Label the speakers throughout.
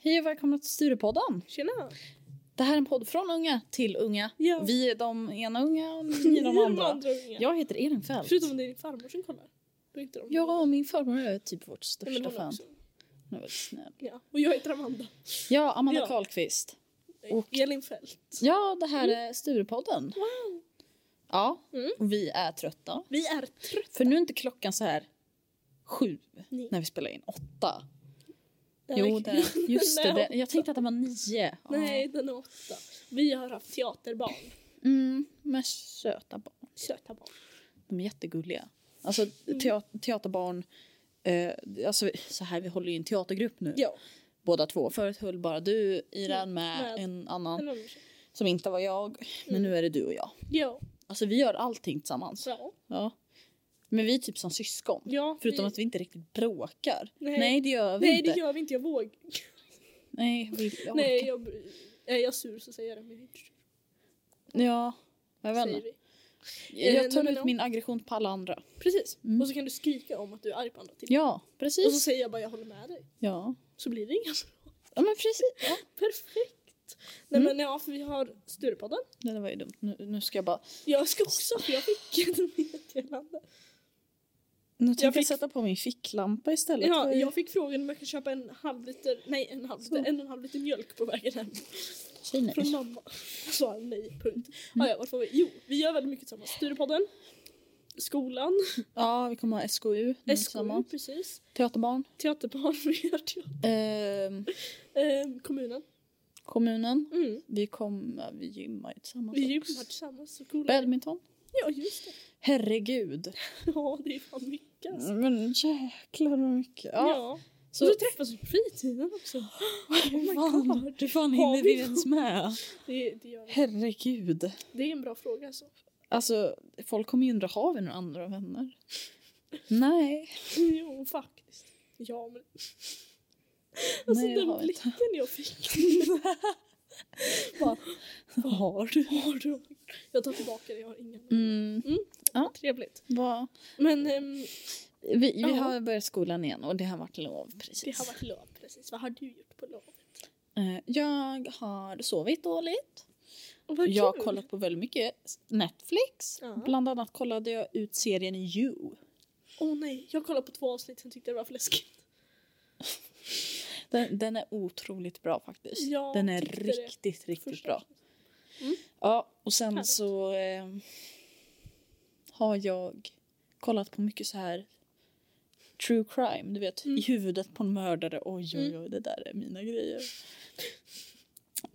Speaker 1: Hej och välkomna till Sturepodden.
Speaker 2: Tjena!
Speaker 1: Det här är en podd från unga till unga.
Speaker 2: Ja.
Speaker 1: Vi är de ena unga och ni är de andra.
Speaker 2: unga.
Speaker 1: Jag heter Elin Fält.
Speaker 2: Förutom om det är din farmor som kollar. Då är inte de
Speaker 1: Jag och min farmor är typ vårt
Speaker 2: Nej,
Speaker 1: största
Speaker 2: men hon
Speaker 1: fan.
Speaker 2: också.
Speaker 1: Hon är väldigt snäll.
Speaker 2: Ja. Och jag heter Amanda.
Speaker 1: Ja, Amanda
Speaker 2: Ja.
Speaker 1: Karlqvist. Och-
Speaker 2: Och Elin Fält.
Speaker 1: Ja, det här är Sturepodden.
Speaker 2: Wow!
Speaker 1: Ja,
Speaker 2: Mm.
Speaker 1: och vi är trötta.
Speaker 2: Vi är trötta.
Speaker 1: För nu är inte klockan så här sju
Speaker 2: Ni.
Speaker 1: när vi spelar in. Åtta.
Speaker 2: Nej,
Speaker 1: Jo, det, just det,
Speaker 2: Nej.
Speaker 1: det. Jag tänkte att det var nio. Ja.
Speaker 2: Nej, den är åtta. Vi har haft teaterbarn.
Speaker 1: Mm, men söta barn.
Speaker 2: Söta barn.
Speaker 1: De är jättegulliga. Alltså
Speaker 2: Mm.
Speaker 1: tea- teaterbarn. Eh, alltså, så här, vi håller ju i en teatergrupp nu.
Speaker 2: Ja.
Speaker 1: Båda två. Förut höll bara du i den
Speaker 2: Mm,
Speaker 1: med,
Speaker 2: med
Speaker 1: en annan
Speaker 2: En Mm. annan tjej.
Speaker 1: som inte var jag. Men nu är det du och jag.
Speaker 2: Ja.
Speaker 1: Alltså vi gör allting tillsammans.
Speaker 2: Ja.
Speaker 1: Ja. Men vi är typ som syskon.
Speaker 2: ja.
Speaker 1: Förutom
Speaker 2: vi-
Speaker 1: att vi inte riktigt bråkar. Nej,
Speaker 2: Nej.
Speaker 1: det gör vi
Speaker 2: Nej,
Speaker 1: inte.
Speaker 2: det gör vi inte. Jag vågar.
Speaker 1: Nej, vi, jag orkar.
Speaker 2: Nej, jag... Är jag sur så säger jag det. Men jag är inte sur,
Speaker 1: Ja, jag vet
Speaker 2: säger
Speaker 1: inte.
Speaker 2: vi.
Speaker 1: Jag tar
Speaker 2: Nej, men
Speaker 1: ut
Speaker 2: ja.
Speaker 1: min aggression på alla andra.
Speaker 2: Precis.
Speaker 1: Mm.
Speaker 2: Och så kan du skrika om att du är arg på andra till.
Speaker 1: Ja,
Speaker 2: Och så
Speaker 1: precis.
Speaker 2: säger jag bara jag håller med dig.
Speaker 1: Ja.
Speaker 2: Så blir det inga
Speaker 1: ja, men precis. Ja.
Speaker 2: Perfekt! Nej
Speaker 1: Mm.
Speaker 2: men ja, för vi har Sturepodden.
Speaker 1: Det där var ju dumt. Nu, nu ska jag bara...
Speaker 2: Jag ska också, för jag fick ett meddelande.
Speaker 1: Nu tänker jag,
Speaker 2: fick-
Speaker 1: sätta på min ficklampa istället.
Speaker 2: Ja,
Speaker 1: Vad är-
Speaker 2: jag fick frågan om jag kan köpa en halv liter, nej en halv liter,
Speaker 1: Så.
Speaker 2: en och en halv liter mjölk på vägen hem
Speaker 1: Säg nej. Mm.
Speaker 2: från mamma. Jag sa nej, punkt. Ja, ja, varför var vi? Jo, vi gör väldigt mycket tillsammans. Sturepodden, skolan,
Speaker 1: Ja, vi kommer ha SKU nu
Speaker 2: SKU,
Speaker 1: tillsammans.
Speaker 2: precis.
Speaker 1: Teaterbarn.
Speaker 2: Teaterbarn, vi gör teater.
Speaker 1: Ehm,
Speaker 2: Eh, kommunen.
Speaker 1: kommunen.
Speaker 2: Mm.
Speaker 1: Vi kommer... Vi gymmar ju tillsammans.
Speaker 2: Vi gymmar tillsammans. och Skolan.
Speaker 1: Badminton.
Speaker 2: Ja, just det.
Speaker 1: Herregud.
Speaker 2: Ja, det är fan mycket alltså.
Speaker 1: Men jäklar vad mycket. Ja.
Speaker 2: Ja.
Speaker 1: Så,
Speaker 2: Och så träffas vi på fritiden också. Oh
Speaker 1: hur,
Speaker 2: my
Speaker 1: fan,
Speaker 2: God.
Speaker 1: hur fan
Speaker 2: Har
Speaker 1: hinner
Speaker 2: vi-
Speaker 1: vi ens med?
Speaker 2: Det, det, gör vi.
Speaker 1: Herregud.
Speaker 2: det är en bra fråga alltså.
Speaker 1: Alltså, folk kommer ju undra, har vi några andra vänner? Nej.
Speaker 2: Jo, faktiskt. Ja, men... Alltså
Speaker 1: Nej, det har
Speaker 2: den
Speaker 1: vi inte.
Speaker 2: blicken jag fick.
Speaker 1: Har du?
Speaker 2: Har du hört? Jag tar tillbaka det, jag har ingen.
Speaker 1: Mm,
Speaker 2: Trevligt.
Speaker 1: vad?
Speaker 2: Men ehm,
Speaker 1: Vi, vi
Speaker 2: Ja.
Speaker 1: har börjat skolan igen och det har varit lov precis.
Speaker 2: det har varit lov precis. Vad har du gjort på lov?
Speaker 1: Eh, Jag har sovit dåligt.
Speaker 2: Och vad
Speaker 1: jag har
Speaker 2: kul.
Speaker 1: kollat på väldigt mycket Netflix.
Speaker 2: Ja.
Speaker 1: Bland annat kollade jag ut serien You.
Speaker 2: Åh nej, jag kollade på två avsnitt sen tyckte jag det var för läskigt.
Speaker 1: Den, den är otroligt bra faktiskt.
Speaker 2: Jag
Speaker 1: den är
Speaker 2: tyckte det
Speaker 1: riktigt, riktigt
Speaker 2: första
Speaker 1: bra.
Speaker 2: avsnittet.
Speaker 1: Ja, och sen
Speaker 2: Härligt.
Speaker 1: så eh, har jag kollat på mycket så här true crime, du vet,
Speaker 2: Mm.
Speaker 1: i huvudet på en mördare. Oj, oj,
Speaker 2: Mm.
Speaker 1: oj, det där är mina grejer.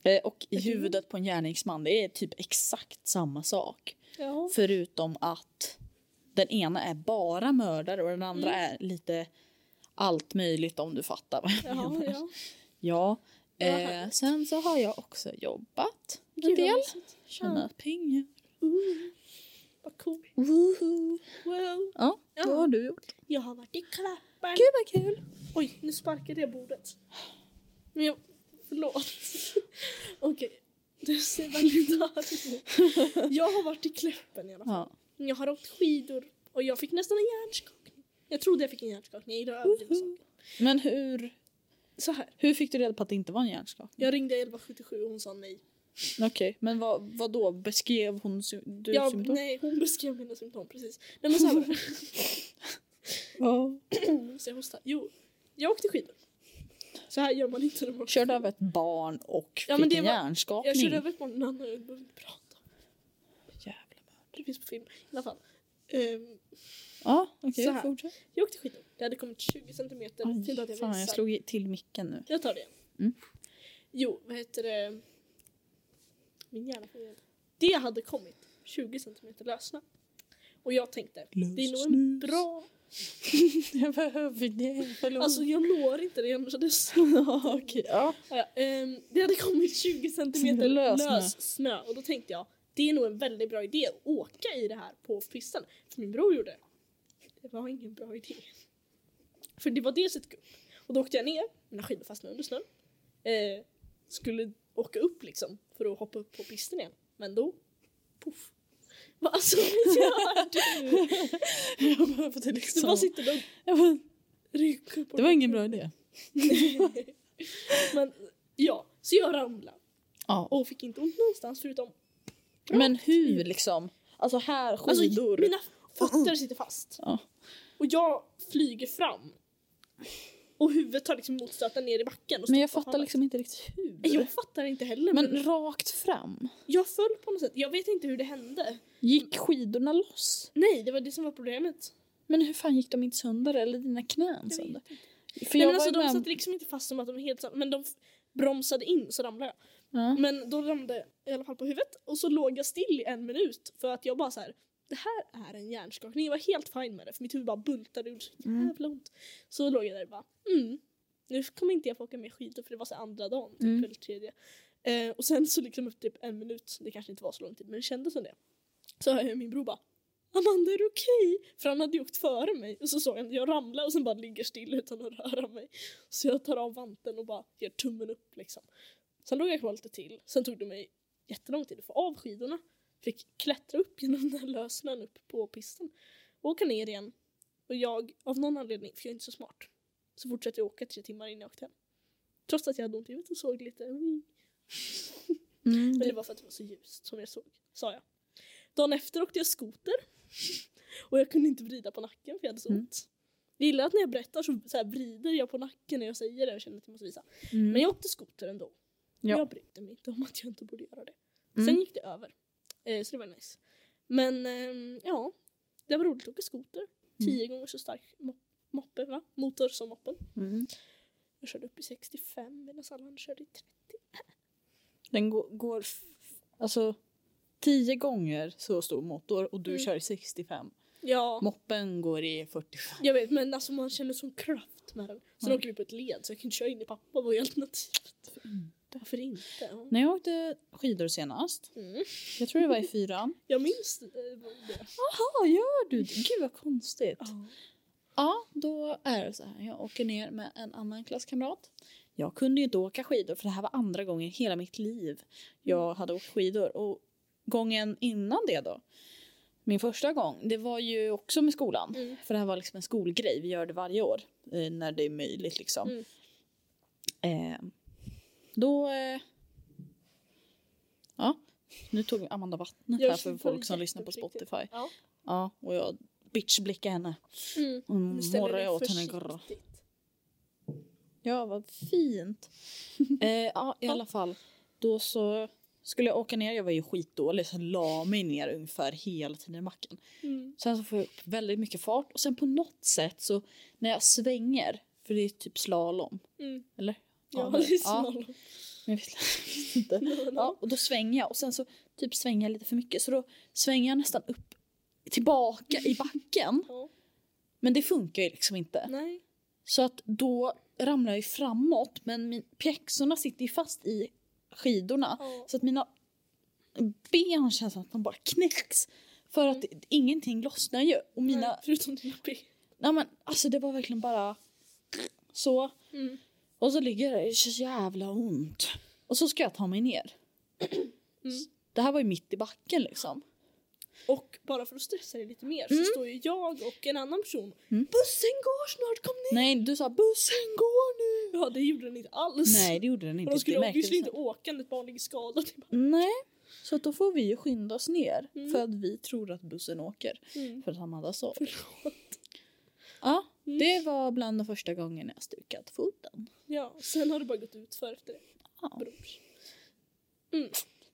Speaker 1: Eh, och i
Speaker 2: Är du-
Speaker 1: huvudet på en gärningsman, det är typ exakt samma sak.
Speaker 2: Ja.
Speaker 1: Förutom att den ena är bara mördare och den andra
Speaker 2: Mm.
Speaker 1: är lite allt möjligt om du fattar vad jag
Speaker 2: Ja,
Speaker 1: menar.
Speaker 2: ja.
Speaker 1: Ja.
Speaker 2: Vad
Speaker 1: Eh,
Speaker 2: härligt.
Speaker 1: sen så har jag också jobbat en
Speaker 2: Gud, vad
Speaker 1: del. äh.
Speaker 2: mysigt.
Speaker 1: Tjäna pengar.
Speaker 2: Ooh, Vad coolt.
Speaker 1: Woohoo.
Speaker 2: Wow.
Speaker 1: Ja,
Speaker 2: Ja.
Speaker 1: vad har du gjort?
Speaker 2: Jag har varit i Klappan.
Speaker 1: Gud vad kul!
Speaker 2: Oj, nu sparkade jag bordet. Men jag... Förlåt. Okej. Det ser väldigt arg ut. Jag har varit i Kläppen i alla fall.
Speaker 1: Ja.
Speaker 2: Jag har åkt skidor och jag fick nästan en hjärnskakning. Jag trodde jag fick en hjärnskakning. Jag gillar överdrivna
Speaker 1: Woho.
Speaker 2: saker.
Speaker 1: Men hur,
Speaker 2: Så här.
Speaker 1: hur fick du reda på att det inte var en hjärnskakning?
Speaker 2: Jag ringde 1177 och hon sa nej.
Speaker 1: Okej, men vad, vad då? Beskrev hon sy- du
Speaker 2: Jag,
Speaker 1: symptom?
Speaker 2: nej, hon beskrev mina symptom precis. Nej men så här var det.
Speaker 1: Ja.
Speaker 2: Så jag hostar. Jo, jag åkte skidor. Så här gör man inte när man åker
Speaker 1: Körde
Speaker 2: skidor.
Speaker 1: över ett barn och
Speaker 2: Ja,
Speaker 1: fick
Speaker 2: men det
Speaker 1: en
Speaker 2: var-
Speaker 1: hjärnskakning?
Speaker 2: Jag körde över ett barn, en annan, jag behöver inte prata om det.
Speaker 1: Jävlar.
Speaker 2: Det finns på film. I alla fall. Ehm,
Speaker 1: Ja, okej.
Speaker 2: Så här.
Speaker 1: fortsätt.
Speaker 2: jag åkte skidor. Det hade kommit 20 centimeter till att
Speaker 1: Aj,
Speaker 2: jag
Speaker 1: fan,
Speaker 2: visar.
Speaker 1: jag slog i- till micken nu.
Speaker 2: Jag tar det.
Speaker 1: Mm.
Speaker 2: Jo, vad heter det? Min hjärna fungerar inte. Det hade kommit 20 centimeter lössnö. Och jag tänkte, det är nog en
Speaker 1: Lössnus.
Speaker 2: bra...
Speaker 1: jag behöver det. Förlåt.
Speaker 2: Alltså jag når inte det annars. hade jag s-
Speaker 1: ja, okej. Ja.
Speaker 2: Ja, ja, ehm, det hade kommit 20 centimeter
Speaker 1: Lössnö.
Speaker 2: lös snö. Och då tänkte jag, det är nog en väldigt bra idé att åka i det här på pisten. För min bror gjorde det. Det var ingen bra idé. För det var dels ett gupp. Och då åkte jag ner, mina skidor fastnade under snön. Eh, skulle åka upp liksom för att hoppa upp på pisten igen. Men då, poff. Vad alltså vad gör du?
Speaker 1: jag behövde
Speaker 2: Du
Speaker 1: liksom...
Speaker 2: bara sitter och
Speaker 1: Jag bara-
Speaker 2: rycker på
Speaker 1: Det var ingen bra idé.
Speaker 2: Nej. Men ja, så jag ramlade
Speaker 1: Ja.
Speaker 2: och fick inte ont någonstans förutom
Speaker 1: Men hur liksom? Alltså här,
Speaker 2: typ. Alltså,
Speaker 1: skidor.
Speaker 2: mina fötter sitter fast.
Speaker 1: Ja.
Speaker 2: Mm. Och jag flyger fram. Och huvudet tar liksom motstöten ner i backen. Och
Speaker 1: Men jag
Speaker 2: stoppar
Speaker 1: fattar
Speaker 2: fallet.
Speaker 1: liksom inte riktigt
Speaker 2: Nej,
Speaker 1: hur.
Speaker 2: Jag fattar inte heller. Men...
Speaker 1: Men rakt fram?
Speaker 2: Jag föll på något sätt. Jag vet inte hur det hände.
Speaker 1: Gick skidorna loss?
Speaker 2: Nej, det var det som var problemet.
Speaker 1: Men hur fan gick de inte sönder? Eller dina knän
Speaker 2: vet
Speaker 1: sönder? För
Speaker 2: Nej,
Speaker 1: jag
Speaker 2: men
Speaker 1: var
Speaker 2: alltså,
Speaker 1: ju
Speaker 2: de
Speaker 1: med...
Speaker 2: satt liksom inte fast som att de var helt... sam- Men de f- bromsade in så ramlade jag.
Speaker 1: ja.
Speaker 2: Men då ramlade jag i alla fall på huvudet och så låg jag still i en minut för att jag bara så här. Det här är en hjärnskakning. Jag var helt fin med det för mitt huvud bara bultade och gjorde så
Speaker 1: Mm.
Speaker 2: jävla ont. Så låg jag där och bara mm, nu kommer inte jag få åka med skidor för det var så här andra dagen typ,
Speaker 1: Mm.
Speaker 2: eller tredje. Eh, och sen så liksom efter typ en minut, det kanske inte var så lång tid men det kändes som det. Så hör jag min bror bara Amanda är du okej? För han hade ju åkt före mig och så såg han att jag ramlade och sen bara ligger still utan att röra mig. Så jag tar av vanten och bara ger tummen upp liksom. Sen låg jag kvar lite till. Sen tog det mig jättelång tid att få av skidorna. Fick klättra upp genom den här lösnön upp på pisten. Och åka ner igen. Och jag, av någon anledning, för jag är inte så smart, så fortsatte jag åka tre timmar innan jag åkte hem. Trots att jag hade ont i huvudet och såg lite. Men
Speaker 1: mm,
Speaker 2: det
Speaker 1: det...
Speaker 2: var för att det var så ljust som jag såg, sa jag. Dagen efter åkte jag skoter. Och jag kunde inte vrida på nacken för jag hade så ont.
Speaker 1: Mm.
Speaker 2: Jag gillar att när jag berättar så, så här vrider jag på nacken när jag säger det och känner att jag måste visa.
Speaker 1: mm.
Speaker 2: Men jag åkte skoter ändå.
Speaker 1: Ja.
Speaker 2: Jag brydde mig inte om att jag inte borde göra det.
Speaker 1: Mm.
Speaker 2: Sen gick det över. Eh, så det var nice. Men ehm, ja, det var roligt att åka
Speaker 1: Mm.
Speaker 2: skoter. Tio gånger så stark mo- moppe, va? Motor som moppen.
Speaker 1: Mm.
Speaker 2: Jag körde upp i 65 medan alla andra körde i 30.
Speaker 1: Den går, går f- alltså tio gånger så stor motor och du
Speaker 2: Mm.
Speaker 1: kör i 65.
Speaker 2: Ja,
Speaker 1: Moppen går i 45.
Speaker 2: jag vet men alltså man känner sån kraft med den. Sen
Speaker 1: Mm.
Speaker 2: åker vi på ett led så jag kan köra in i pappa. Vad är alternativet? Varför inte? Ja.
Speaker 1: När jag åkte skidor senast,
Speaker 2: Mm.
Speaker 1: jag tror det var i fyran.
Speaker 2: Jag minns eh, det.
Speaker 1: Jaha, Ah, gör du det? Gud vad konstigt.
Speaker 2: Ja.
Speaker 1: Ja, då är det så här. Jag åker ner med en annan klasskamrat. Jag kunde ju inte åka skidor för det här var andra gången i hela mitt liv jag hade åkt skidor. Och gången innan det då, min första gång, det var ju också med skolan.
Speaker 2: Mm.
Speaker 1: För det här var liksom en skolgrej, vi gör det varje år eh, när det är möjligt liksom.
Speaker 2: Mm.
Speaker 1: Eh, då... Eh, ja, nu tog Amanda vattnet
Speaker 2: Jag
Speaker 1: här för
Speaker 2: känner
Speaker 1: folk som lyssnar på
Speaker 2: jätteuppriktigt.
Speaker 1: Spotify.
Speaker 2: Ja.
Speaker 1: Ja, och jag bitchblickade henne.
Speaker 2: Mm.
Speaker 1: Och
Speaker 2: Nu ställer
Speaker 1: morrade
Speaker 2: dig
Speaker 1: åt henne. Grr.
Speaker 2: försiktigt.
Speaker 1: Ja, vad fint. eh, ja, i alla fall. Då så skulle jag åka ner. Jag var ju skitdålig så jag la mig ner ungefär hela tiden i backen.
Speaker 2: Mm.
Speaker 1: Sen så får jag upp väldigt mycket fart och sen på något sätt så när jag svänger, för det är typ slalom,
Speaker 2: Mm.
Speaker 1: eller?
Speaker 2: Ja,
Speaker 1: det-
Speaker 2: det är smal.
Speaker 1: men jag vet jag vet inte. Ja, och då svänger jag och sen så typ svänger jag lite för mycket så då svänger jag nästan upp tillbaka i backen.
Speaker 2: Ja.
Speaker 1: Men det funkar ju liksom inte.
Speaker 2: Nej.
Speaker 1: Så att då ramlar jag ju framåt men min, pjäxorna sitter ju fast i skidorna.
Speaker 2: Ja.
Speaker 1: Så att mina ben känns som att de bara knäcks. För att ingenting lossnar ju. Och mina,
Speaker 2: Nej, Förutom dina ben.
Speaker 1: nej men alltså det var verkligen bara så.
Speaker 2: Mm.
Speaker 1: Och så ligger jag där, det känns jävla ont. Och så ska jag ta mig ner.
Speaker 2: Mm.
Speaker 1: Det här var ju mitt i backen liksom.
Speaker 2: Och bara för att stressa dig lite mer
Speaker 1: Mm.
Speaker 2: så står ju jag och en annan person.
Speaker 1: Mm.
Speaker 2: Bussen går snart, kom ner!
Speaker 1: Nej, du sa bussen går nu!
Speaker 2: Ja det gjorde den inte alls.
Speaker 1: Nej, det gjorde den
Speaker 2: Och
Speaker 1: inte.
Speaker 2: de skulle
Speaker 1: Det märkte vi
Speaker 2: obviously
Speaker 1: sen.
Speaker 2: inte åka när ett barn ligger skadat.
Speaker 1: Nej, så att då får vi ju skynda oss ner
Speaker 2: Mm.
Speaker 1: för att vi tror att bussen åker.
Speaker 2: Mm.
Speaker 1: För att Amanda sa det. Ja, det var bland de första gångerna jag stukat foten.
Speaker 2: Ja, sen har det bara gått ut för efter det.
Speaker 1: Ja.
Speaker 2: Brors.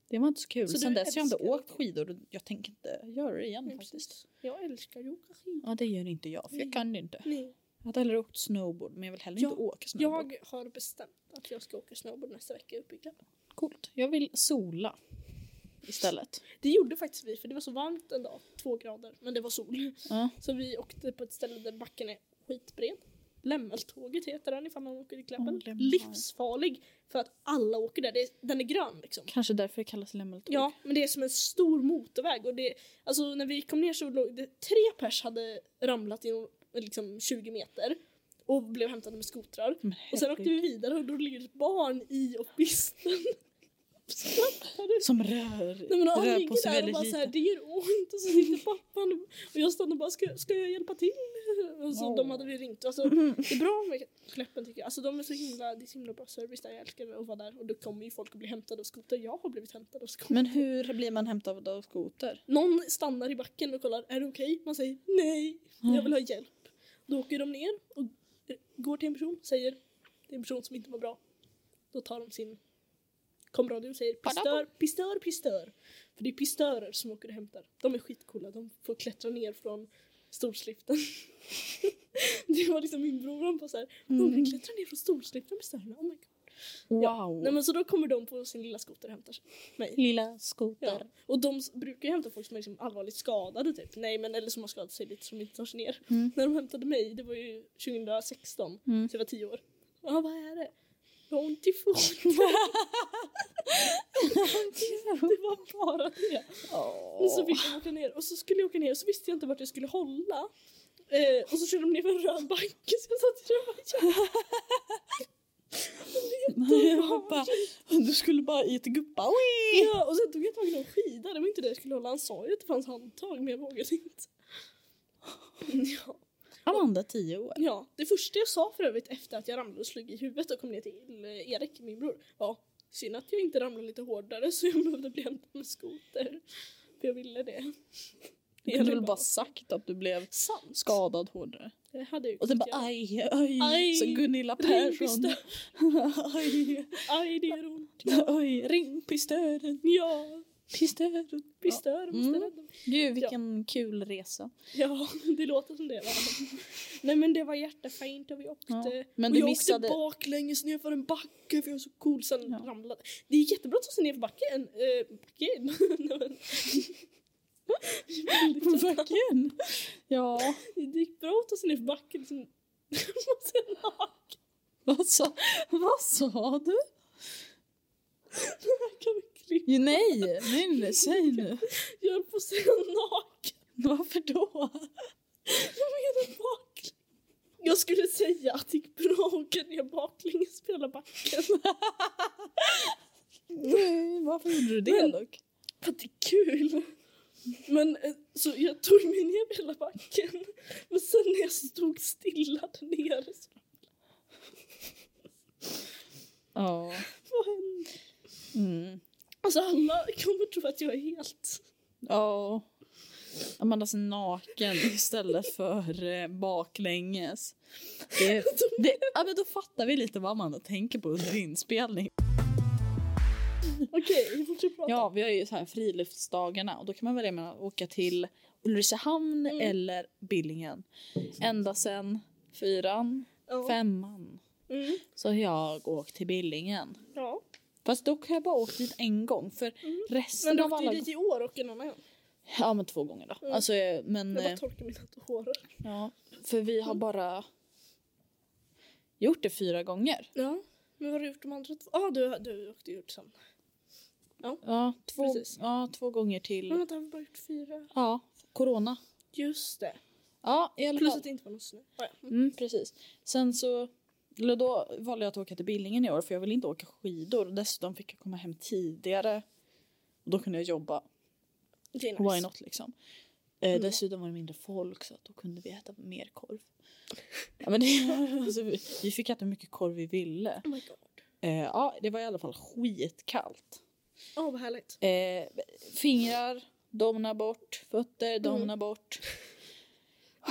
Speaker 1: Det var inte så kul.
Speaker 2: Så du
Speaker 1: Sen dess har jag inte
Speaker 2: älskar
Speaker 1: åkt skidor och jag tänker inte göra det igen
Speaker 2: Nej,
Speaker 1: faktiskt.
Speaker 2: Jag älskar ju att åka skidor.
Speaker 1: Ja, det gör inte jag för
Speaker 2: Nej.
Speaker 1: jag kan det inte.
Speaker 2: Nej.
Speaker 1: Jag hade hellre åkt snowboard men jag vill heller
Speaker 2: Ja,
Speaker 1: inte åka snowboard.
Speaker 2: Jag har bestämt att jag ska åka snowboard nästa vecka upp i Glädje.
Speaker 1: Coolt. Jag vill sola istället.
Speaker 2: Det gjorde faktiskt vi för det var så varmt en dag, två grader, men det var sol.
Speaker 1: Ja.
Speaker 2: Så vi åkte på ett ställe där backen är skitbred. Lämmeltåget heter den ifall man åker i Kläppen.
Speaker 1: Ja, Lämmel.
Speaker 2: Livsfarlig för att alla åker där. Det är, den är grön liksom.
Speaker 1: Kanske därför det kallas lämmeltåg.
Speaker 2: Ja, men det är som en stor motorväg. Och det, alltså, när vi kom ner så låg det, tre pers hade ramlat i någon- liksom 20 meter och blev hämtade med skotrar.
Speaker 1: Men
Speaker 2: Och sen åkte
Speaker 1: herregud.
Speaker 2: vi vidare och då ligger ett barn i och pisten. skrattade.
Speaker 1: Som rör,
Speaker 2: Nej, men han
Speaker 1: rör på
Speaker 2: ligger
Speaker 1: sig
Speaker 2: där och
Speaker 1: väldigt
Speaker 2: bara så här,
Speaker 1: lite.
Speaker 2: det gör ont. Och så sitter pappan och- och jag stannar och bara, ska, ska jag hjälpa till? Och så
Speaker 1: Åh.
Speaker 2: de hade vi ringt. Alltså, det är bra med Kläppen tycker jag. Alltså de är så himla, det är så himla bra service där. Jag älskar att vara där. Och då kommer ju folk att bli hämtade av skoter. Jag har blivit hämtad av skoter.
Speaker 1: Men hur blir man hämtad av skoter?
Speaker 2: Någon stannar i backen och kollar, är det okej? Man säger nej, jag vill ha hjälp. Då åker de ner och går till en person säger, det är en person som inte mår bra. Då tar de sin komradio och säger pistör, pistör, pistör. För det är pistörer som åker och hämtar. De är skitcoola, de får klättra ner från stolsliften. det var liksom min bror, han bara såhär, de kan klättra ner från stolsliften pistörerna, oh my god.
Speaker 1: Wow.
Speaker 2: Nej men så då kommer de på sin lilla skoter och hämtar mig.
Speaker 1: Lilla
Speaker 2: Ja.
Speaker 1: skoter.
Speaker 2: Och de s- brukar ju hämta folk som är liksom allvarligt skadade typ. Nej men eller som har skadat sig lite som inte tar sig ner.
Speaker 1: Mm.
Speaker 2: När de hämtade mig, det var ju 2016,
Speaker 1: Mm.
Speaker 2: så jag var 10 år. Ja vad är det? Jag har ont i foten. det var bara det. Och så fick de åka ner och så skulle jag åka ner och så visste jag inte vart jag skulle hålla. Eh, och så körde de ner för en röd backe så jag satt i den backen.
Speaker 1: Jag bara, du skulle bara i ett guppa. Oi!
Speaker 2: Ja, och sen tog jag tag i någon skida, det var inte det jag skulle hålla. Han sa ju att det fanns handtag men jag vågade inte. Ja.
Speaker 1: Amanda, tio år.
Speaker 2: Ja, det första jag sa för övrigt efter att jag ramlade och slog i huvudet och kom ner till eh, Erik, min bror, var synd att jag inte ramlade lite hårdare så jag behövde bli hämtad med skoter. För jag ville det.
Speaker 1: Du kunde väl bara sagt att du blev
Speaker 2: sant.
Speaker 1: skadad hårdare.
Speaker 2: Det hade jag ju
Speaker 1: Och sen
Speaker 2: kunnat
Speaker 1: bara
Speaker 2: göra.
Speaker 1: aj, aj,
Speaker 2: Aj.
Speaker 1: som Gunilla
Speaker 2: Ring
Speaker 1: Persson.
Speaker 2: pistö-
Speaker 1: aj,
Speaker 2: Aj, det gör ont.
Speaker 1: aj, ring pistören,
Speaker 2: Ja,
Speaker 1: pistören.
Speaker 2: pistör måste
Speaker 1: Mm.
Speaker 2: rädda mig.
Speaker 1: Du, vilken kul resa.
Speaker 2: Ja, det låter som det. Va? Nej men det var jättefint och vi åkte.
Speaker 1: Ja, men
Speaker 2: och
Speaker 1: du
Speaker 2: jag
Speaker 1: missade-
Speaker 2: åkte baklänges ner för en backe för jag var så cool sen
Speaker 1: Ja.
Speaker 2: ramlade. Det är jättebra att ta sig ner för backen. Eh, backen? Nej, men-
Speaker 1: Verkligen. Ja,
Speaker 2: det gick bra att ta sig ner för backen. Liksom. Man ser naken.
Speaker 1: vad sa, vad sa du?
Speaker 2: Det här kan vi klippa.
Speaker 1: Jo, Nej, nej, nej, säg nu.
Speaker 2: Jag höll på att säga naken.
Speaker 1: Varför då?
Speaker 2: Jag menar baklänges. Jag skulle säga att det gick bra att åka ner baklänges på hela backen.
Speaker 1: Nej, varför gjorde du
Speaker 2: Men-
Speaker 1: dock?
Speaker 2: För att det är kul. Men eh, så jag tog mig ner hela backen. Men sen när jag stod stilla där nere så
Speaker 1: Ja.
Speaker 2: vad hände?
Speaker 1: Mm.
Speaker 2: Alltså alla kommer tro att jag är helt...
Speaker 1: Ja. Amandas naken istället för eh, baklänges. Det, det, ja, men då fattar vi lite vad Amanda tänker på under inspelning.
Speaker 2: Okej, vi fortsätter prata.
Speaker 1: Ja, vi har ju så här friluftsdagarna och då kan man välja mellan att åka till Ulricehamn
Speaker 2: Mm.
Speaker 1: eller Billingen. Ända sen fyran,
Speaker 2: Ja.
Speaker 1: femman
Speaker 2: Mm.
Speaker 1: så har jag åkt till Billingen.
Speaker 2: ja.
Speaker 1: Fast dock har jag bara åkt dit en gång för resten
Speaker 2: Mm. Men du
Speaker 1: av
Speaker 2: åkte
Speaker 1: alla...
Speaker 2: ju dit i år och en annan gång.
Speaker 1: Ja men två gånger då.
Speaker 2: Mm.
Speaker 1: Alltså, eh, men,
Speaker 2: Jag
Speaker 1: eh,
Speaker 2: bara torkar mina tårar.
Speaker 1: ja, Mm. för vi har bara gjort det fyra gånger.
Speaker 2: Ja. Men vad har du gjort de andra två? Ja, ah, du, du åkte ju ut sen.
Speaker 1: Ja två,
Speaker 2: Precis.
Speaker 1: ja, två gånger till.
Speaker 2: Men vänta, har vi bara gjort fyra?
Speaker 1: Ja, corona.
Speaker 2: Just det.
Speaker 1: Ja, i alla
Speaker 2: Plus
Speaker 1: fall.
Speaker 2: att det inte var någon snö. Ah, ja.
Speaker 1: Mm, precis. Sen så, eller då valde jag att åka till Billingen i år för jag ville inte åka skidor. Och dessutom fick jag komma hem tidigare. Och då kunde jag jobba.
Speaker 2: Det är
Speaker 1: Why
Speaker 2: nice.
Speaker 1: not liksom. Eh,
Speaker 2: Mm.
Speaker 1: Dessutom var det mindre folk så att då kunde vi äta mer korv. Ja, men det, alltså, vi, vi fick äta hur mycket korv vi ville.
Speaker 2: Oh my god.
Speaker 1: Eh, ja, det var i alla fall skitkallt.
Speaker 2: Åh, vad härligt.
Speaker 1: Eh, fingrar domna bort, fötter domna bort.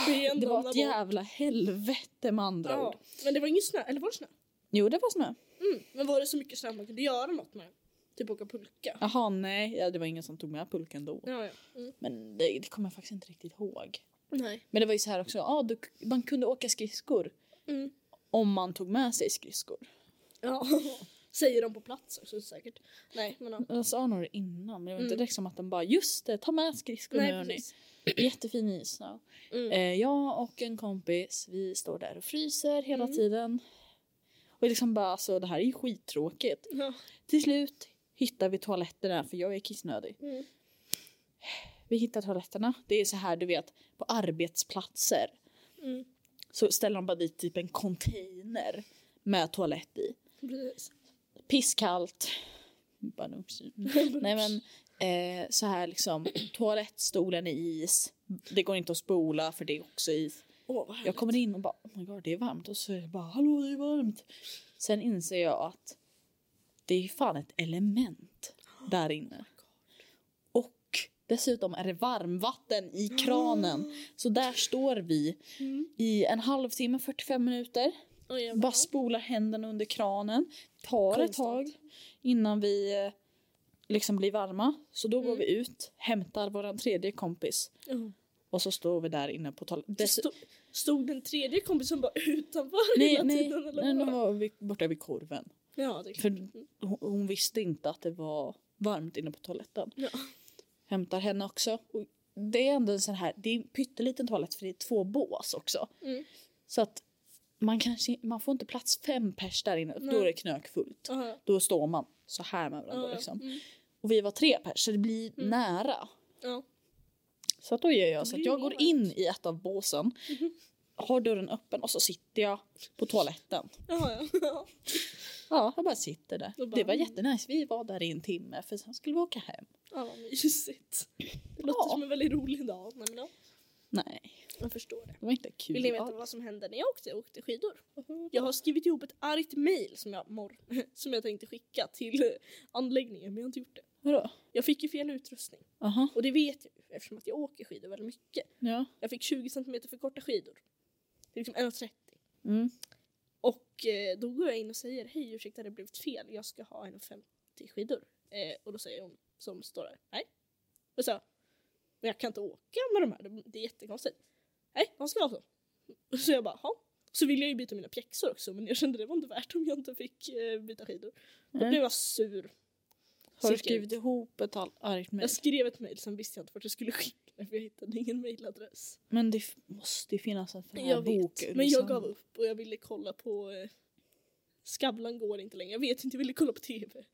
Speaker 2: Ben,
Speaker 1: Ah, Det var
Speaker 2: ramlar
Speaker 1: ett
Speaker 2: Mm. bort.
Speaker 1: jävla helvete med andra
Speaker 2: Ja,
Speaker 1: ord.
Speaker 2: men det var ingen snö, eller var det snö?
Speaker 1: Jo, det var snö.
Speaker 2: Mm. Men var det så mycket snö man kunde göra något med? Typ åka pulka?
Speaker 1: Jaha, nej. Ja, det var ingen som tog med pulken då.
Speaker 2: Ja, ja. Mm.
Speaker 1: Men det, det kommer jag faktiskt inte riktigt ihåg.
Speaker 2: Nej.
Speaker 1: Men det var ju så här också, ja, du, man kunde åka skridskor
Speaker 2: Mm.
Speaker 1: om man tog med sig skridskor.
Speaker 2: Ja. Säger de på plats också säkert. Nej, men ja.
Speaker 1: Jag sa nog det innan men det var inte
Speaker 2: Mm.
Speaker 1: direkt som att de bara just det, ta med skridskor nu
Speaker 2: Nej,
Speaker 1: hörni.
Speaker 2: precis.
Speaker 1: Jättefin issnö.
Speaker 2: Mm.
Speaker 1: Eh, jag och en kompis vi står där och fryser hela
Speaker 2: Mm.
Speaker 1: tiden. Och liksom bara alltså det här är ju skittråkigt.
Speaker 2: Ja.
Speaker 1: Till slut hittar vi toaletterna för jag är kissnödig.
Speaker 2: Mm.
Speaker 1: Vi hittar toaletterna. Det är så här du vet på arbetsplatser
Speaker 2: Mm.
Speaker 1: så ställer de bara dit typ en container med toalett i.
Speaker 2: Precis.
Speaker 1: Pisskallt. Banumsi. Nej men eh, så här liksom, toalettstolen är is. Det går inte att spola för det är också is.
Speaker 2: Åh, vad härligt.
Speaker 1: Jag kommer in och bara oh my god det är varmt och så är det bara hallå det är varmt. Sen inser jag att det är fan ett element där inne. Och dessutom är det varmvatten i kranen. Så där står vi
Speaker 2: Mm.
Speaker 1: i en halvtimme, 45 minuter.
Speaker 2: Oj, jävlar.
Speaker 1: Bara spolar händerna under kranen. Tar ett tag
Speaker 2: Konstant.
Speaker 1: innan vi eh, liksom blir varma. Så då går
Speaker 2: Mm.
Speaker 1: vi ut, hämtar vår tredje kompis
Speaker 2: Ja.
Speaker 1: och så står vi där inne på toaletten.
Speaker 2: Det stod, stod den tredje kompisen bara utanför
Speaker 1: Nej,
Speaker 2: hela
Speaker 1: nej,
Speaker 2: tiden? Eller
Speaker 1: nej,
Speaker 2: vad?
Speaker 1: de var vi- borta vid korven.
Speaker 2: Ja, det är
Speaker 1: För hon, hon visste inte att det var varmt inne på toaletten.
Speaker 2: Ja.
Speaker 1: Hämtar henne också. Och det är ändå en sån här, det är en pytteliten toalett för det är två bås också.
Speaker 2: Mm.
Speaker 1: Så att man, kanske, man får inte plats fem pers där inne,
Speaker 2: Nej.
Speaker 1: då är det knökfullt.
Speaker 2: Aha, ja,
Speaker 1: Då står man så här med varandra
Speaker 2: ja,
Speaker 1: liksom.
Speaker 2: mm,
Speaker 1: Och vi var tre pers så det blir
Speaker 2: Mm.
Speaker 1: nära.
Speaker 2: ja.
Speaker 1: Så att då gör jag så
Speaker 2: Det är
Speaker 1: att
Speaker 2: ju Mhm.
Speaker 1: jag går
Speaker 2: varmt.
Speaker 1: in i ett av båsen, har dörren öppen och så sitter jag på toaletten.
Speaker 2: Jaha, ja.
Speaker 1: Ja, jag bara sitter där.
Speaker 2: Och bara- "Mm."
Speaker 1: det var jättenice. Vi var där i en timme för sen skulle vi åka hem.
Speaker 2: Ja, vad mysigt. Det låter
Speaker 1: Ja.
Speaker 2: som en väldigt rolig dag. Nej, men ja,
Speaker 1: Nej,
Speaker 2: jag förstår det.
Speaker 1: det var inte kul.
Speaker 2: Vill ni veta vad som hände när jag åkte, jag åkte skidor? Jag har skrivit ihop ett argt mejl som jag, mor- som jag tänkte skicka till eh, anläggningen men jag har inte gjort det.
Speaker 1: Vadå?
Speaker 2: Jag fick ju fel utrustning
Speaker 1: Jaha.
Speaker 2: och det vet jag ju eftersom att jag åker skidor väldigt mycket.
Speaker 1: Ja.
Speaker 2: Jag fick 20 cm för korta skidor. Det är liksom 1,30.
Speaker 1: Mm.
Speaker 2: Och eh, då går jag in och säger hej ursäkta det har blivit fel, jag ska ha 1,50 skidor. Eh, och då säger hon som står där, nej. Och så, men jag kan inte åka med de här, de- det är jättekonstigt. Nej, de ska ha så. Och så jag bara, ha. Så ville jag ju byta mina pjäxor också men jag kände det var inte värt om jag inte fick eh, byta skidor. Då
Speaker 1: Nej.
Speaker 2: blev jag sur.
Speaker 1: Har du
Speaker 2: Skickade
Speaker 1: skrivit ihop ett all- argt mejl?
Speaker 2: Jag skrev ett mejl, sen visste jag inte vart jag skulle skicka det för jag hittade ingen mejladress.
Speaker 1: Men det f- måste ju finnas en sån här
Speaker 2: Jag
Speaker 1: bok. liksom.
Speaker 2: vet, men jag gav upp och jag ville kolla på eh, Skavlan går inte längre. Jag vet inte, jag ville kolla på TV.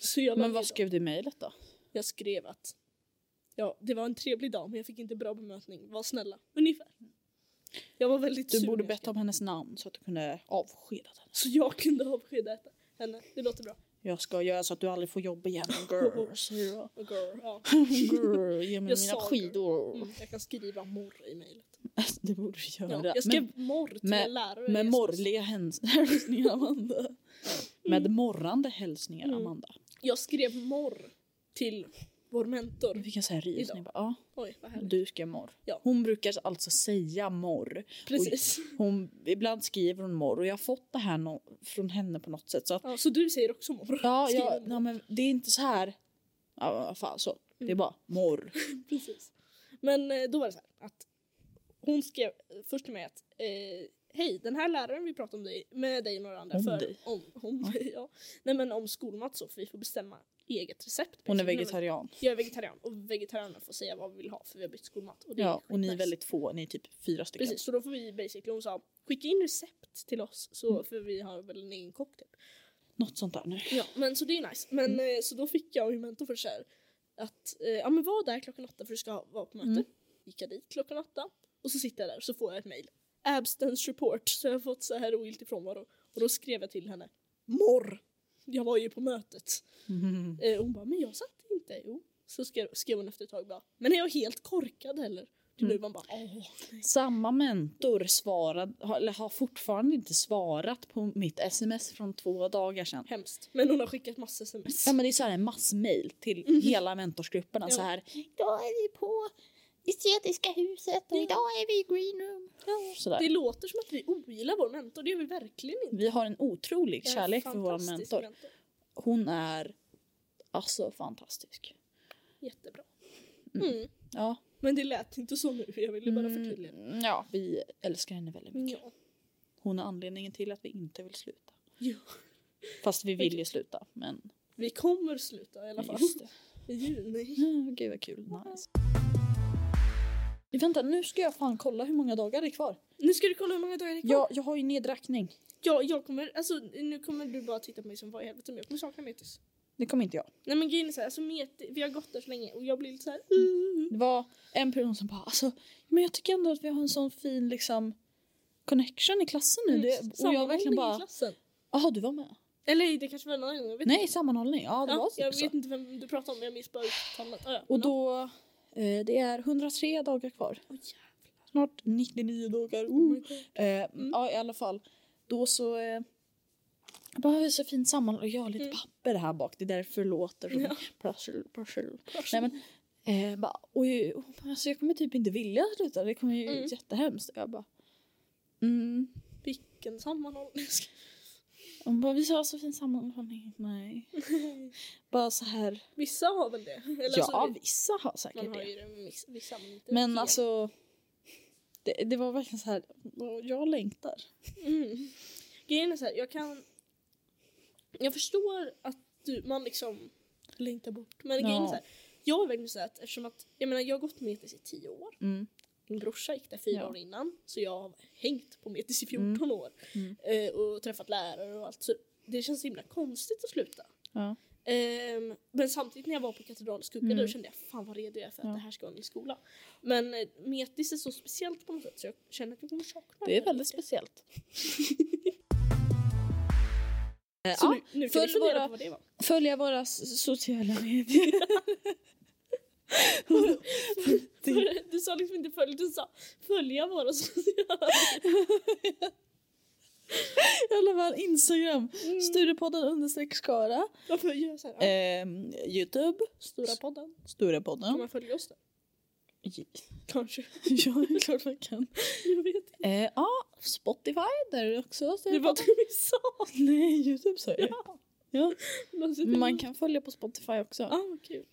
Speaker 2: Så jag, la
Speaker 1: Men
Speaker 2: ner
Speaker 1: vad
Speaker 2: dem.
Speaker 1: skrev du i mejlet då?
Speaker 2: jag skrev att ja, det var en trevlig dag men jag fick inte bra bemötning. Var snälla. Ungefär. Jag var väldigt
Speaker 1: Du
Speaker 2: sur
Speaker 1: borde
Speaker 2: när jag
Speaker 1: bett om hennes namn så att du kunde avskeda henne.
Speaker 2: skrev. Så jag kunde avskeda henne. Det låter bra.
Speaker 1: Jag ska göra så att du aldrig får jobb igen. Grr, säger jag.
Speaker 2: Och girl, ja.
Speaker 1: Grr, ge mig
Speaker 2: Jag
Speaker 1: mina
Speaker 2: sa
Speaker 1: skidor.
Speaker 2: mm, jag kan skriva morr i mejlet.
Speaker 1: Det borde du göra.
Speaker 2: Ja, jag skrev
Speaker 1: Men-
Speaker 2: morr till
Speaker 1: med-
Speaker 2: en lärare. i
Speaker 1: Med
Speaker 2: sms.
Speaker 1: morrliga häns- hälsningar, Amanda. Med morrande hälsningar,
Speaker 2: Mm.
Speaker 1: Amanda.
Speaker 2: Jag skrev morr till vår
Speaker 1: Vi
Speaker 2: mentor.
Speaker 1: fick en sån här rysning.
Speaker 2: Idag.
Speaker 1: Bara, Ja,
Speaker 2: Oj, vad härligt.
Speaker 1: du ska morr.
Speaker 2: Ja.
Speaker 1: Hon brukar alltså säga morr.
Speaker 2: Precis.
Speaker 1: Hon, ibland skriver hon morr och jag har fått det här nå- från henne på något sätt. Så att,
Speaker 2: Ja, så du säger också morr?
Speaker 1: ja,
Speaker 2: Skriver
Speaker 1: jag,
Speaker 2: morr.
Speaker 1: nej, men det är inte så här. Ja, vad fan, så.
Speaker 2: Mm.
Speaker 1: Det är bara morr.
Speaker 2: Precis. Men eh, då var det så här att hon skrev eh, först till mig att eh, Hej, den här läraren vi pratade om dig, med dig och några andra
Speaker 1: Om
Speaker 2: för
Speaker 1: dig.
Speaker 2: om, om ja. ja. Nej men om skolmat så, för vi får bestämma eget recept.
Speaker 1: Hon är
Speaker 2: Nej, men
Speaker 1: vegetarian.
Speaker 2: Jag är vegetarian och vegetarianer får säga vad vi vill ha för vi har bytt skolmat. Och det
Speaker 1: Ja, och ni är
Speaker 2: skitnice.
Speaker 1: väldigt få. Ni är typ fyra stycken.
Speaker 2: Precis, så då får vi basically, hon sa skicka in recept till oss så,
Speaker 1: Mm.
Speaker 2: för vi har väl en egen kock typ.
Speaker 1: Något sånt där nu.
Speaker 2: Ja, men så det är nice. Men
Speaker 1: Mm.
Speaker 2: eh, så då fick jag och min mentor för så här att eh, ja men var där klockan åtta för du ska vara på möte.
Speaker 1: Mm.
Speaker 2: Gick jag dit klockan åtta och så sitter jag där och så får jag ett mail. Abstinence report. Så jag har fått så här ogiltig frånvaro. Och då skrev jag till henne. Morr! Jag var ju på mötet.
Speaker 1: Mhm.
Speaker 2: Eh, och hon bara, men jag satt inte. Jo. Så skrev, skrev hon efter ett tag bara, men är jag helt korkad eller? Till
Speaker 1: Mm.
Speaker 2: nu man bara, åh. nej."
Speaker 1: Samma mentor svarade, har, eller har fortfarande inte svarat på mitt sms från två dagar sedan.
Speaker 2: Hemskt. Men hon har skickat massa sms.
Speaker 1: Ja, men det är så här en massmail till hela mentorsgrupperna. Så
Speaker 2: Mhm. Ja.
Speaker 1: här, idag är vi på Estetiska huset och
Speaker 2: Ja.
Speaker 1: idag är vi i green room. Så
Speaker 2: Det
Speaker 1: där.
Speaker 2: låter som att vi ogillar vår mentor, det gör vi verkligen inte.
Speaker 1: Vi har en otrolig
Speaker 2: Jag är
Speaker 1: kärlek för vår
Speaker 2: fantastisk
Speaker 1: mentor. Hon är alltså fantastisk.
Speaker 2: Jättebra.
Speaker 1: Mm.
Speaker 2: Mm.
Speaker 1: Ja,
Speaker 2: Men det lät inte så nu, jag ville bara förtydliga.
Speaker 1: mm, ja vi älskar henne väldigt mycket.
Speaker 2: Ja.
Speaker 1: Hon är anledningen till att vi inte vill sluta.
Speaker 2: Ja.
Speaker 1: Fast vi vill ju sluta, men
Speaker 2: Vi kommer sluta i alla fall.
Speaker 1: just det.
Speaker 2: I juni.
Speaker 1: Mm, gud vad kul. Nice. Vänta, nu ska jag fan kolla hur många dagar det är kvar.
Speaker 2: Nu ska du kolla hur många dagar det är kvar.
Speaker 1: Jag, jag har ju nedräkning.
Speaker 2: Ja, jag kommer, alltså nu kommer du bara titta på mig som vad i helvete, men jag kommer sakna Metis.
Speaker 1: Det kommer inte jag.
Speaker 2: Nej men grejen är såhär, alltså Metis, vi har gått där så länge och jag blir lite såhär, mm.
Speaker 1: Det var en person som bara alltså, men jag tycker ändå att vi har en sån fin liksom connection i klassen nu. Det, och jag
Speaker 2: Mm, sammanhållning
Speaker 1: verkligen
Speaker 2: i
Speaker 1: bara,
Speaker 2: klassen.
Speaker 1: jaha du var med?
Speaker 2: Eller det kanske var en annan gång. Jag vet
Speaker 1: Nej, sammanhållning. Ja, det
Speaker 2: ja,
Speaker 1: var
Speaker 2: jag
Speaker 1: typ så.
Speaker 2: vet inte vem du pratar om, men jag minns bara uttalet. Ja, ja,
Speaker 1: Och
Speaker 2: men ja.
Speaker 1: då, eh, det är 103 dagar kvar.
Speaker 2: Åh, jävlar.
Speaker 1: Snart 99 dagar.
Speaker 2: Oh
Speaker 1: Uh.
Speaker 2: my God.
Speaker 1: Eh, Ja, i alla fall. Då så... Eh, jag bara, "Hur så fint sammanhållning. Jag har lite
Speaker 2: Mm.
Speaker 1: papper här bak. Det är därför det låter som
Speaker 2: Ja.
Speaker 1: prassel, prassel. Nej, men, eh, bara, oj, oj, oj, alltså jag kommer typ inte vilja sluta. Det kommer ju
Speaker 2: Mm.
Speaker 1: jättehemskt. Jag bara, mm.
Speaker 2: Vilken sammanhållning.
Speaker 1: Hon bara, vi har så fin sammanhållning. Nej. bara så här.
Speaker 2: Vissa har väl det? Eller
Speaker 1: ja,
Speaker 2: alltså,
Speaker 1: vissa har säkert
Speaker 2: man har
Speaker 1: det.
Speaker 2: ju det, men vissa- vissa har inte.
Speaker 1: Men
Speaker 2: Fel.
Speaker 1: alltså, det, det var verkligen så här, "Åh, jag längtar.
Speaker 2: Mm. Grejen är så här, jag kan... Jag förstår att du, man liksom längtar bort. Men grejen är
Speaker 1: Ja.
Speaker 2: så här, jag är verkligen så här att eftersom att, jag menar jag har gått metis i tio år.
Speaker 1: Mm.
Speaker 2: Min brorsa gick där fyra
Speaker 1: Ja.
Speaker 2: år innan. Så jag har hängt på metis i 14 år.
Speaker 1: Mm.
Speaker 2: Eh, och träffat lärare och allt. Så det känns så himla konstigt att sluta.
Speaker 1: Ja.
Speaker 2: Ehm, men samtidigt när jag var på Katedralens skugga
Speaker 1: Mm.
Speaker 2: då kände jag fan vad redo jag är för att
Speaker 1: Ja.
Speaker 2: det här ska vara min skola. Men eh, metis är så speciellt på något sätt så jag känner att jag kommer sakna
Speaker 1: Det är
Speaker 2: här
Speaker 1: väldigt
Speaker 2: lite.
Speaker 1: speciellt. Eh,
Speaker 2: Så
Speaker 1: ja,
Speaker 2: nu, nu kan vi
Speaker 1: följ
Speaker 2: fundera
Speaker 1: våra-
Speaker 2: på vad det var.
Speaker 1: Följa våra s- sociala medier.
Speaker 2: Du sa liksom inte följ, du sa följa våra sociala
Speaker 1: I alla fall Instagram, Sturepodden understreck Skara.
Speaker 2: Varför gör jag så här?
Speaker 1: Ehm, Youtube,
Speaker 2: Stora podden. Kan
Speaker 1: Sturepodden.
Speaker 2: man följa oss där? Kanske.
Speaker 1: Ja, det är klart man kan.
Speaker 2: Jag vet inte.
Speaker 1: Eh, Ja, Spotify där är det också.
Speaker 2: Det var det vi sa.
Speaker 1: Nej, Youtube sa jag ju.
Speaker 2: Man sitter-
Speaker 1: Man kan följa på Spotify också.
Speaker 2: Ah, vad kul.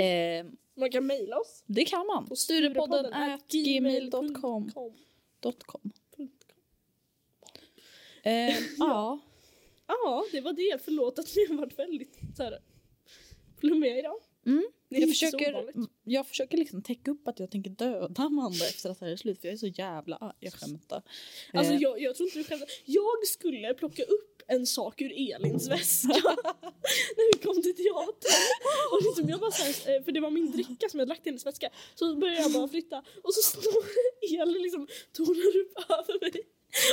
Speaker 1: Ehm,
Speaker 2: Man kan mejla oss.
Speaker 1: det kan man.
Speaker 2: på
Speaker 1: Sturepodden at gmail.com.
Speaker 2: gmail.com. Com.
Speaker 1: Dot com.
Speaker 2: Punkt com.
Speaker 1: Ehm, ja.
Speaker 2: Ja, det var det. Förlåt att ni har varit väldigt så här, flummiga idag.
Speaker 1: Mm.
Speaker 2: Det är
Speaker 1: Jag
Speaker 2: inte så
Speaker 1: försöker,
Speaker 2: ovanligt.
Speaker 1: jag försöker liksom täcka upp att jag tänker döda Amanda efter att det här är slut för jag är så jävla arg. Jag skämtar.
Speaker 2: Alltså
Speaker 1: Eh,
Speaker 2: jag, jag tror inte du skämtar. Jag skulle plocka upp en sak ur Elins väska när vi kom till teatern. Och liksom jag bara så här, eh, för det var min dricka som jag hade lagt i hennes väska. Så började jag bara flytta och så står Elin liksom tornar upp över mig.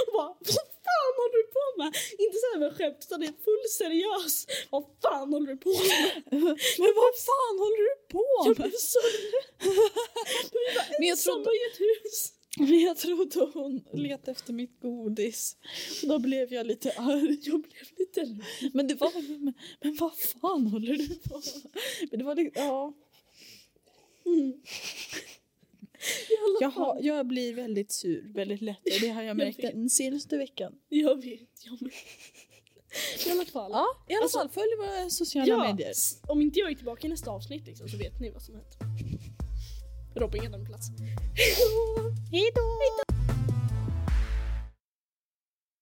Speaker 2: Och bara, vad fan håller du på med? Inte så här med skämt utan det är full seriös. Vad fan håller du på med?
Speaker 1: Men vad fan håller du på
Speaker 2: Jag
Speaker 1: med?
Speaker 2: blev så rädd.
Speaker 1: Men jag
Speaker 2: Som
Speaker 1: trodde,
Speaker 2: i ett hus.
Speaker 1: men jag trodde hon letade efter mitt godis. Och Då blev jag lite arg.
Speaker 2: Jag blev lite rädd.
Speaker 1: Men det var men, men vad fan håller du på med? Men det var liksom, ja.
Speaker 2: Mm. I alla
Speaker 1: jag,
Speaker 2: fall.
Speaker 1: har, jag blir väldigt sur väldigt lätt och det har jag märkt den senaste veckan.
Speaker 2: Jag vet, jag med. I alla fall.
Speaker 1: Ja, i alla
Speaker 2: Alltså-
Speaker 1: fall följ våra sociala medier.
Speaker 2: s- Om inte jag är tillbaka i nästa avsnitt liksom, så vet ni vad som hänt. Robin kan ta min plats.
Speaker 1: Hej då!